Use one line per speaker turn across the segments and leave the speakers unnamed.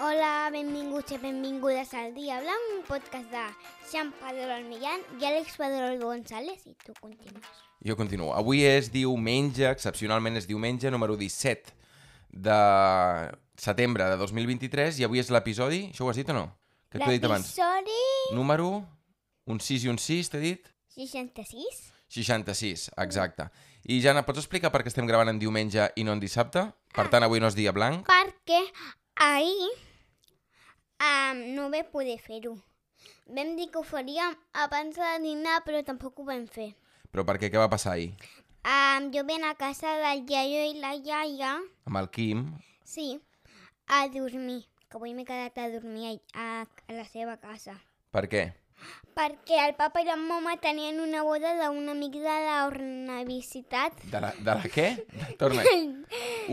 Hola, benvinguts i benvingudes al Dia Blanc, un podcast de Xan Pedrol Millán i Àlex Pedrol González, i tu continues.
Jo continuo. Avui és diumenge, excepcionalment és diumenge, número 17 de setembre de 2023 i avui és l'episodi, això ho has dit o no? Que t'ho he dit abans.
L'episodi
Número, un 6 i un 6, t'he dit?
66?
66, exacte. I Jana, pots explicar per què estem gravant en diumenge i no en dissabte? Per tant, avui no és dia blanc.
Perquè ahir um, no vam poder fer-ho. Vam dir que ho faríem abans de dinar, però tampoc ho vam fer.
Però per què? Què va passar ahir?
Um, jo vam a casa del iaio i la iaia,
Amb el Quim,
sí, a dormir. Que avui m'he quedat a dormir a, a la seva casa.
per què?
Perquè el papa i la mama tenien una boda d'un amic de la ornavicitat,
De la, de la què? Torna.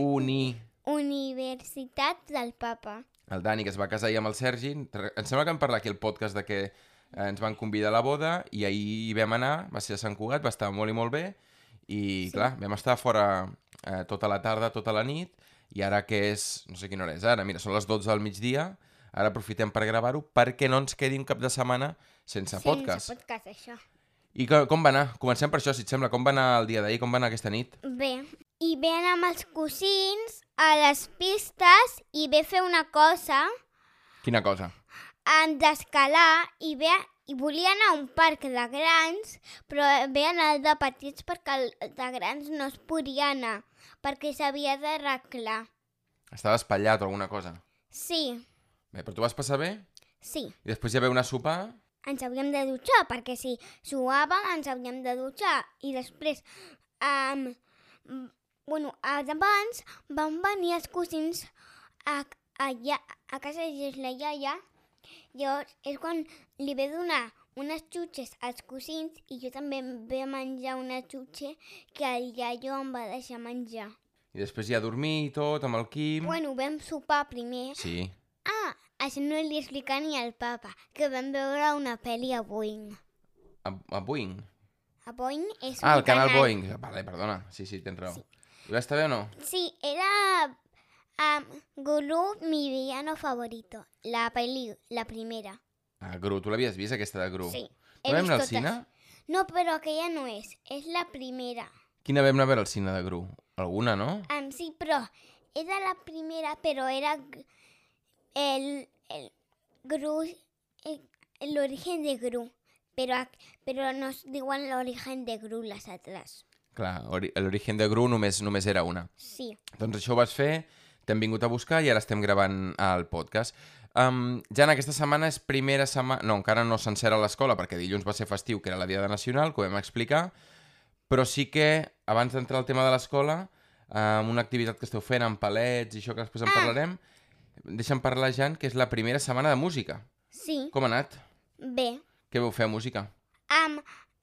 Uni.
universitat del papa.
El Dani, que es va casar ahir amb el Sergi, em sembla que vam parlar aquí al podcast de que eh, ens van convidar a la boda i ahir hi vam anar, va ser a Sant Cugat, va estar molt i molt bé i, sí. clar, vam estar fora eh, tota la tarda, tota la nit i ara que és, no sé quina hora és ara, mira, són les 12 del migdia, ara aprofitem per gravar-ho perquè no ens quedi un cap de setmana sense, sense podcast.
Sense podcast, això.
I com, com va anar? Comencem per això, si et sembla. Com va anar el dia d'ahir? Com va anar aquesta nit?
Bé, i ve anar amb els cosins a les pistes i ve fer una cosa,
Quina cosa?
en d'escalar i ve a, i volia anar a un parc de grans, però ve anar al de petits perquè el de grans no es podia anar, perquè s'havia d'arreglar.
Estava espatllat o alguna cosa?
Sí,
Bé, però tu vas passar bé?
sí.
I després ja veu anar a sopar?
ens havíem de dutxar, perquè si suàvem ens havíem de dutxar. I després, um, bueno, abans van venir els cosins a, a, a, a casa de la iaia. Llavors és quan li ve donar unes xutxes als cosins i jo també em ve menjar una xutxa que el iaio em va deixar menjar.
I després ja dormir i tot, amb el Quim...
Bueno, vam sopar primer.
Sí.
Ah, això no li explica ni al papa, que vam veure una pel·li a Boeing.
A, a Boeing.
A Boeing és
Ah,
un
el canal Boeing. Vale, perdona. Sí, sí, tens raó. Sí. I va estar bé o no?
Sí, era um, Guru, mi villano favorito. La peli, la primera.
Ah, Gru, tu l'havies vist, aquesta de Gru?
Sí. he
La vam
vist
anar al
totes.
cine?
No, però aquella no és. És la primera.
Quina vam anar a veure al cine de Gru? Alguna, no?
Um, sí, però era la primera, però era g- el, el Gru, el, el origen de Gru. Però, ac- però no es diuen l'origen de Gru les altres.
Clar, ori- l'origen de Gru només, només era una.
Sí.
Doncs això ho vas fer, t'hem vingut a buscar i ara estem gravant el podcast. Um, Jan, aquesta setmana és primera setmana... No, encara no sencera a l'escola, perquè dilluns va ser festiu, que era la Diada Nacional, que ho vam explicar, però sí que, abans d'entrar al tema de l'escola, amb una activitat que esteu fent amb palets i això que després en parlarem, deixa'm parlar, Jan, que és la primera setmana de música.
Sí.
Com ha anat?
Bé.
Què veu fer a música?
Um,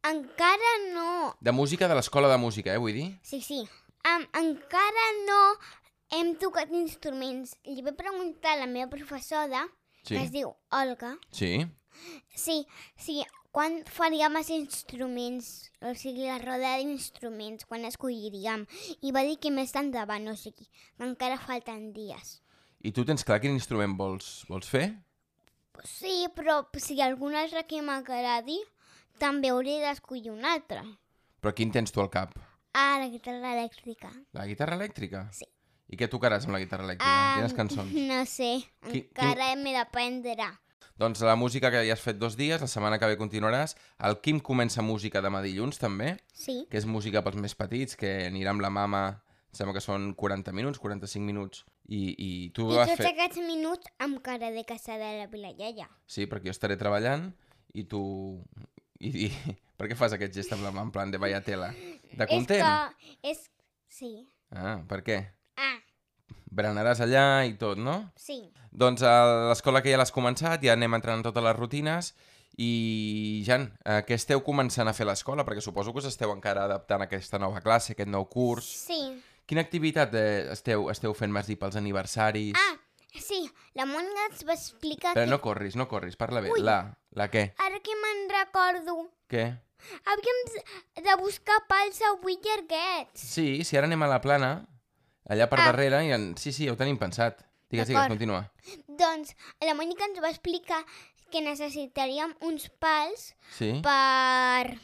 encara no
De música de l'escola de música, eh, vull dir?
Sí, sí. Um, encara no hem tocat instruments. Li vaig preguntar a la meva professora, sí.
Sí.
que es diu Olga,
Sí.
sí, sí, quan faríem els instruments, o sigui, la roda d'instruments, quan escolliríem. I va dir que més endavant, o sigui, que encara falten dies.
I tu tens clar quin instrument vols, vols fer?
Sí, però si algun altre que m'agradi, també hauré d'escollir un altre.
Però quin tens tu al cap?
Ah, la guitarra elèctrica.
La guitarra elèctrica?
Sí.
I què tocaràs amb la guitarra elèctrica?
Ah,
Quines cançons?
No sé,
Qui-
encara m'he d'aprendre.
Doncs la música que ja has fet dos dies, la setmana que ve continuaràs. El Quim comença música demà dilluns, també,
Sí.
que és música pels més petits, que anirà amb la mama, em sembla que són 40 minuts, 45 minuts. I, i tu
I
ho vas
tots
fer...
aquests minuts amb cara de casa de la Vila Iaia.
Sí, perquè jo estaré treballant i tu... I, i... Per què fas aquest gest amb la mà en plan de vaya tela? De content?
És que... És... Sí.
Ah, per què?
Ah,
Berenaràs allà i tot, no?
sí.
Doncs a l'escola que ja l'has començat, ja anem entrant en totes les rutines i, Jan, eh, què esteu començant a fer a l'escola? Perquè suposo que us esteu encara adaptant a aquesta nova classe, aquest nou curs.
Sí.
Quina activitat eh, esteu, esteu fent, m'has dit, pels aniversaris?
Ah, sí. La Mònica ens va explicar
Però
que...
no corris, no corris, parla bé. La, la què?
Ara que me'n recordo,
Què?
havíem de buscar pals a vuit llarguets.
Sí, si ara anem a la plana, allà per
Ah.
darrere, i en... sí, sí, ja ho tenim pensat. Digues, digues,
D'acord.
continua.
Doncs la Mònica ens va explicar que necessitaríem uns pals
Sí?
per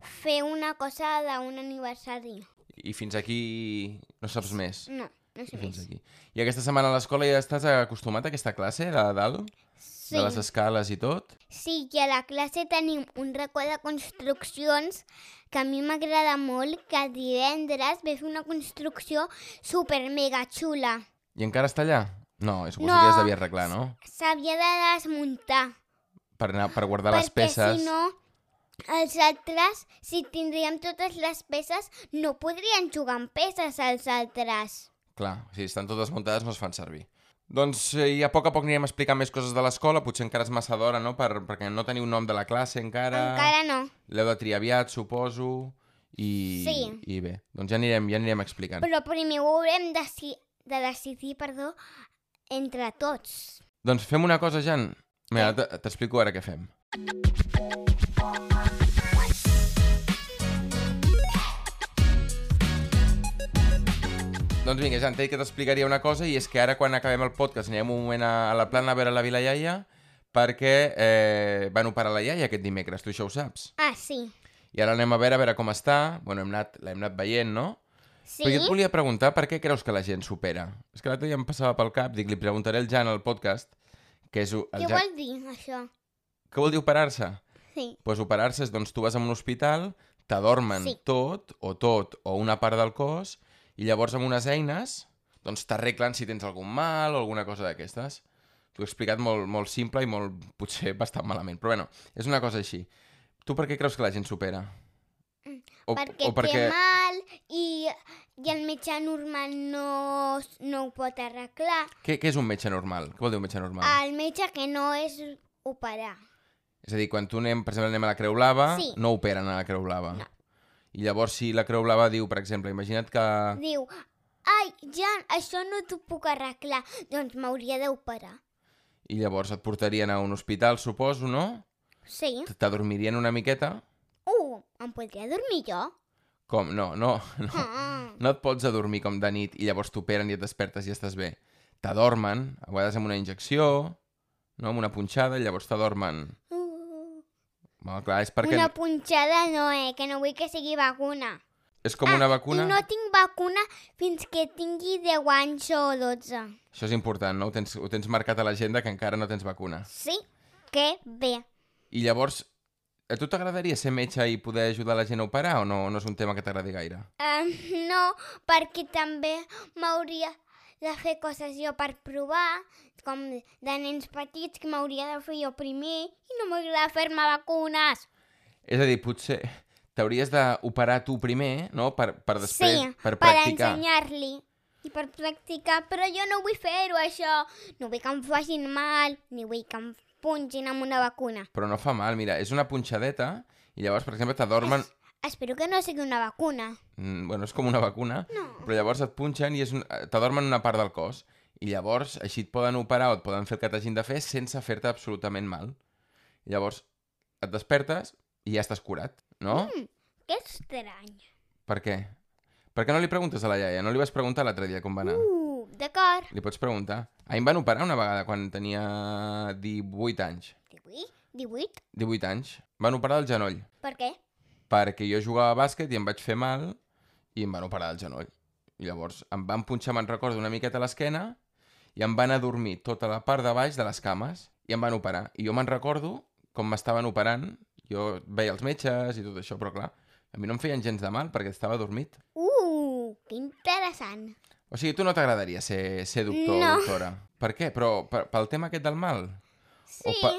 fer una cosa d'un aniversari.
I fins aquí no saps més.
No, no sé
I fins
més.
aquí. I aquesta setmana a l'escola ja estàs acostumat a aquesta classe, la de dalt?
Sí,
De les escales i tot?
sí, i a la classe tenim un racó de construccions que a mi m'agrada molt, que divendres ve fer una construcció super mega xula.
I encara està allà? No, és que
No.
no. ja es devia arreglar, no?
S'havia de desmuntar.
Per, anar, per guardar les
perquè
peces.
si no, els altres, si tindríem totes les peces, no podrien jugar amb peces els altres.
Clar, si estan totes muntades no es fan servir. Doncs eh, i a poc a poc anirem explicant més coses de l'escola, potser encara és massa d'hora, no? Per, perquè no teniu nom de la classe encara.
Encara no.
L'heu de triar aviat, suposo. I,
Sí.
I bé, doncs ja anirem, ja anirem explicant.
Però primer ho haurem de, si- de decidir, perdó, entre tots.
Doncs fem una cosa, Jan. Mira, t- t'explico ara què fem. Doncs vinga, Jan, t'he dit que t'explicaria una cosa i és que ara quan acabem el podcast anirem un moment a, a la plana a veure la Vila Iaia perquè eh, van operar la iaia aquest dimecres, tu això ho saps.
Ah, sí.
I ara anem a veure a veure com està. Bueno, hem anat, l'hem anat veient, no?
Sí?
Però jo et volia preguntar per què creus que la gent supera. És que l'altre dia em passava pel cap, dic, li preguntaré al Jan al podcast, que és... u- El
Què
Jan...
vol dir, això?
Què vol dir operar-se? Doncs
Sí.
pues operar-se és, doncs, tu vas a un hospital, t'adormen
Sí.
tot, o tot, o una part del cos, i llavors amb unes eines, doncs t'arreglen si tens algun mal o alguna cosa d'aquestes. T'ho he explicat molt, molt simple i molt, potser, bastant malament. Però bueno, és una cosa així. Tu per què creus que la gent supera? O,
Mm, perquè,
o perquè...
té mal i, i el metge normal no, s- no ho pot arreglar.
Què, què és un metge normal? Què vol dir un metge normal?
El metge que no és operar.
És a dir, quan tu anem, per exemple, anem a la Creu Blava,
Sí.
no operen a la Creu Blava.
No.
I llavors, si la Creu Blava diu, per exemple, imagina't que...
Diu, ai, Jan, això no t'ho puc arreglar, doncs m'hauria d'operar.
I llavors et portarien a un hospital, suposo, no?
Sí.
T- T'adormirien una miqueta?
Uh, em podria dormir jo?
Com? No, no, no.
Ah,
No et pots adormir com de nit i llavors t'operen i et despertes i estàs bé. T'adormen, a vegades amb una injecció, no? amb una punxada, i llavors t'adormen.
uh,
Bueno, clar, és perquè
Una punxada no, eh, que no vull que sigui vacuna.
és com una vacuna...
Ah, I no tinc vacuna fins que tingui 10 anys o 12.
Això és important, no? Ho tens, ho tens marcat a l'agenda que encara no tens vacuna.
Sí? Que bé.
I llavors, a tu t'agradaria ser metge i poder ajudar la gent a operar o no, no és un tema que t'agradi gaire?
Um, no, perquè també m'hauria de fer coses jo per provar, com de nens petits que m'hauria de fer jo primer i no m'agrada fer-me vacunes.
És a dir, potser t'hauries d'operar tu primer, no? Per, per després,
sí, per
per practicar.
ensenyar-li i per practicar, però jo no vull fer-ho, això. No vull que em facin mal, ni vull que em punxin amb una vacuna.
Però no fa mal, mira, és una punxadeta i llavors, per exemple, t'adormen...
Es- Espero que no sigui una vacuna.
Mm, bueno, és com una vacuna, no. però llavors et punxen i és un... t'adormen una part del cos. I llavors així et poden operar o et poden fer el que t'hagin de fer sense fer-te absolutament mal. Llavors et despertes i ja estàs curat, no? Mm.
Que estrany.
Per què? Per què no li preguntes a la iaia? No li vas preguntar l'altre dia com va anar?
Uh, d'acord.
Li pots preguntar. A mi em van operar una vegada quan tenia 18 anys.
18? 18?
18 anys. Van operar del genoll.
Per què?
Perquè jo jugava a bàsquet i em vaig fer mal i em van operar del genoll. I llavors em van punxar, me'n recordo, una miqueta a l'esquena i em van adormir tota la part de baix de les cames i em van operar. I jo me'n recordo com m'estaven operant. Jo veia els metges i tot això, però clar, a mi no em feien gens de mal perquè estava adormit.
Uh, que interessant.
O sigui, tu no t'agradaria ser, ser doctor o
No.
doctora. Per què? Però per, pel tema aquest del mal?
Sí,
pa-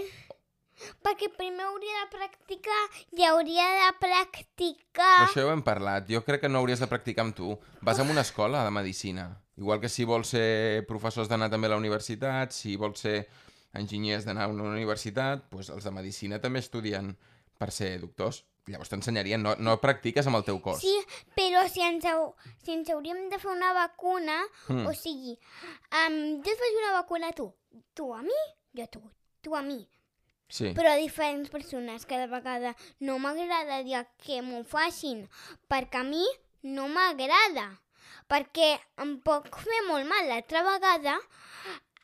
perquè primer hauria de practicar i hauria de
Però
practicar...
això ja ho hem parlat. Jo crec que no hauries de practicar amb tu. Vas a una escola de medicina. Igual que si vols ser professors d'anar també a la universitat, si vols ser enginyers d'anar a una universitat, doncs els de medicina també estudien per ser doctors. Llavors t'ensenyarien, no, no practiques amb el teu cos.
Sí, però si ens, hau, si ens hauríem de fer una vacuna,
Mm.
o sigui, um, jo et faig una vacuna a tu, tu a mi, jo a tu, tu a mi,
sí.
però a diferents persones cada vegada. No m'agradaria que m'ho facin, perquè a mi no m'agrada, perquè em puc fer molt mal. L'altra vegada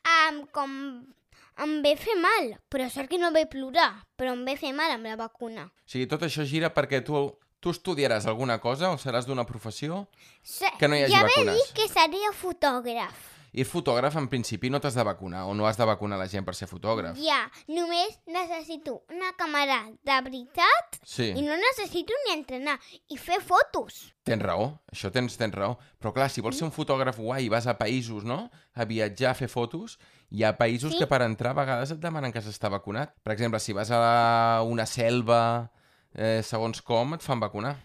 a um, com em ve fer mal, però sort que no ve plorar, però em ve fer mal amb la vacuna.
O sigui, tot això gira perquè tu, tu estudiaràs alguna cosa o seràs d'una professió
Se-
Que no hi hagi
ja
vacunes.
Ja que seria fotògraf.
i fotògraf en principi no t'has de vacunar o no has de vacunar la gent per ser fotògraf.
Ja, només necessito una càmera de veritat
Sí,
i no necessito ni entrenar i fer fotos.
tens raó, això tens, tens raó. Però clar, si vols ser un fotògraf guai, vas a països, no? A viatjar, a fer fotos, hi ha països
Sí.
que per entrar a vegades et demanen que s'està vacunat. Per exemple, si vas a una selva, eh, segons com, et fan vacunar.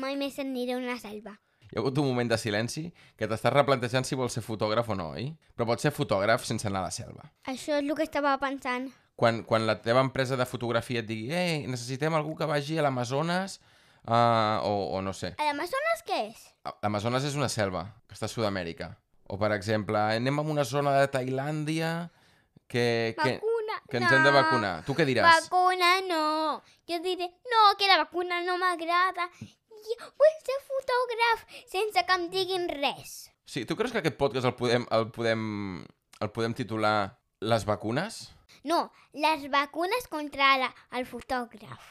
Mai més aniré a una selva.
Hi ha hagut un moment de silenci que t'estàs replantejant si vols ser fotògraf o no, oi? Però pots ser fotògraf sense anar a la selva.
Això és el que estava pensant.
Quan, quan la teva empresa de fotografia et digui «Ei, necessitem algú que vagi a l'Amazones», uh, o, o no sé.
A l'Amazones què és?
A- L'Amazones és una selva, que està a Sud-amèrica. O, per exemple, anem a una zona de Tailàndia que, que,
Vacuna.
que ens hem de
no.
vacunar. Tu què diràs?
Vacuna no. Jo diré, no, que la vacuna no m'agrada. Jo vull ser fotògraf sense que em diguin res.
Sí, tu creus que aquest podcast el podem, el podem, el podem titular «Les vacunes»?
No, les vacunes contra la, el fotògraf.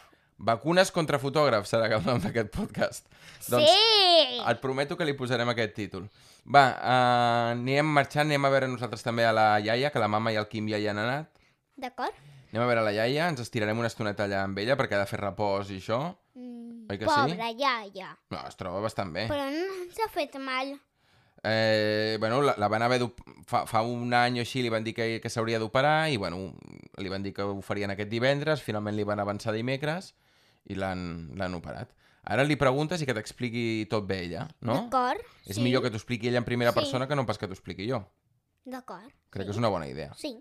Vacunes contra fotògrafs serà el nom d'aquest podcast. Doncs,
sí!
Et prometo que li posarem aquest títol. Va, uh, anem marxant, anem a veure nosaltres també a la iaia, que la mama i el Quim ja hi han anat.
D'acord?
Anem a veure la iaia, ens estirarem una estoneta allà amb ella perquè ha de fer repòs i això.
Mm,
Oi que sí? Eh.
Pobra iaia.
No, es troba bastant bé.
Però no s'ha fet mal.
Eh, bueno, la, la van haver d'op- fa, fa un any o així li van dir que, que s'hauria d'operar i bueno, li van dir que ho farien aquest divendres, finalment li van avançar dimecres i l'han l'han operat. Ara li preguntes i que t'expliqui tot bé ella, no?
D'acord?
És millor que t'ho expliqui ella en primera
Sí.
persona que no pas que t'ho expliqui jo.
D'acord.
Crec que és una bona idea.
Sí.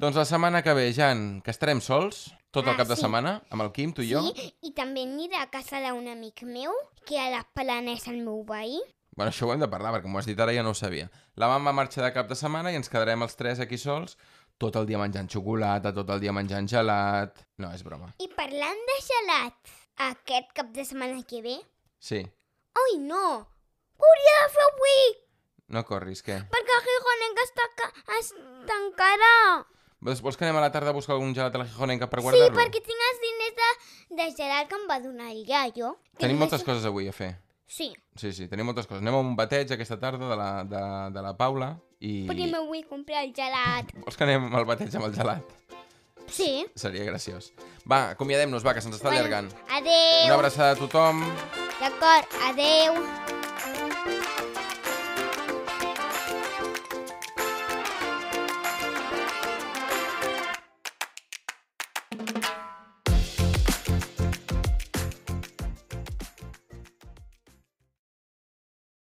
Doncs la setmana que ve, Jan, que estarem sols, tot el
Ah,
cap de
sí.
setmana, amb el Quim, tu i jo.
Sí, i també aniré a casa d'un amic meu, que a les Planes el meu veí.
Bueno, això ho hem de parlar, perquè m'ho has dit ara i ja no ho sabia. La mama marxa de cap de setmana i ens quedarem els tres aquí sols, tot el dia menjant xocolata, tot el dia menjant gelat... No, és broma.
I parlant de gelat, aquest cap de setmana que ve...
Sí.
Ai, no! Ho hauria de fer avui!
No corris, què?
Perquè el Gijonenca està ca... es tancarà!
Vols, vols que anem a la tarda a buscar algun gelat a la Gijonenca per
Sí,
guardar-lo?
perquè tinc els diners de, de gelat que em va donar el iaio.
Tenim
Tinc
moltes
més-
coses avui a fer.
Sí,
Sí, sí, tenim moltes coses. Anem a un bateig aquesta tarda de la, de, de la Paula i...
primer vull comprar el gelat.
Vols que anem al bateig amb el gelat?
Sí.
Seria graciós. Va, acomiadem-nos, va, que se'ns està allargant.
Bueno, adeu.
Una abraçada a tothom.
D'acord, adeu.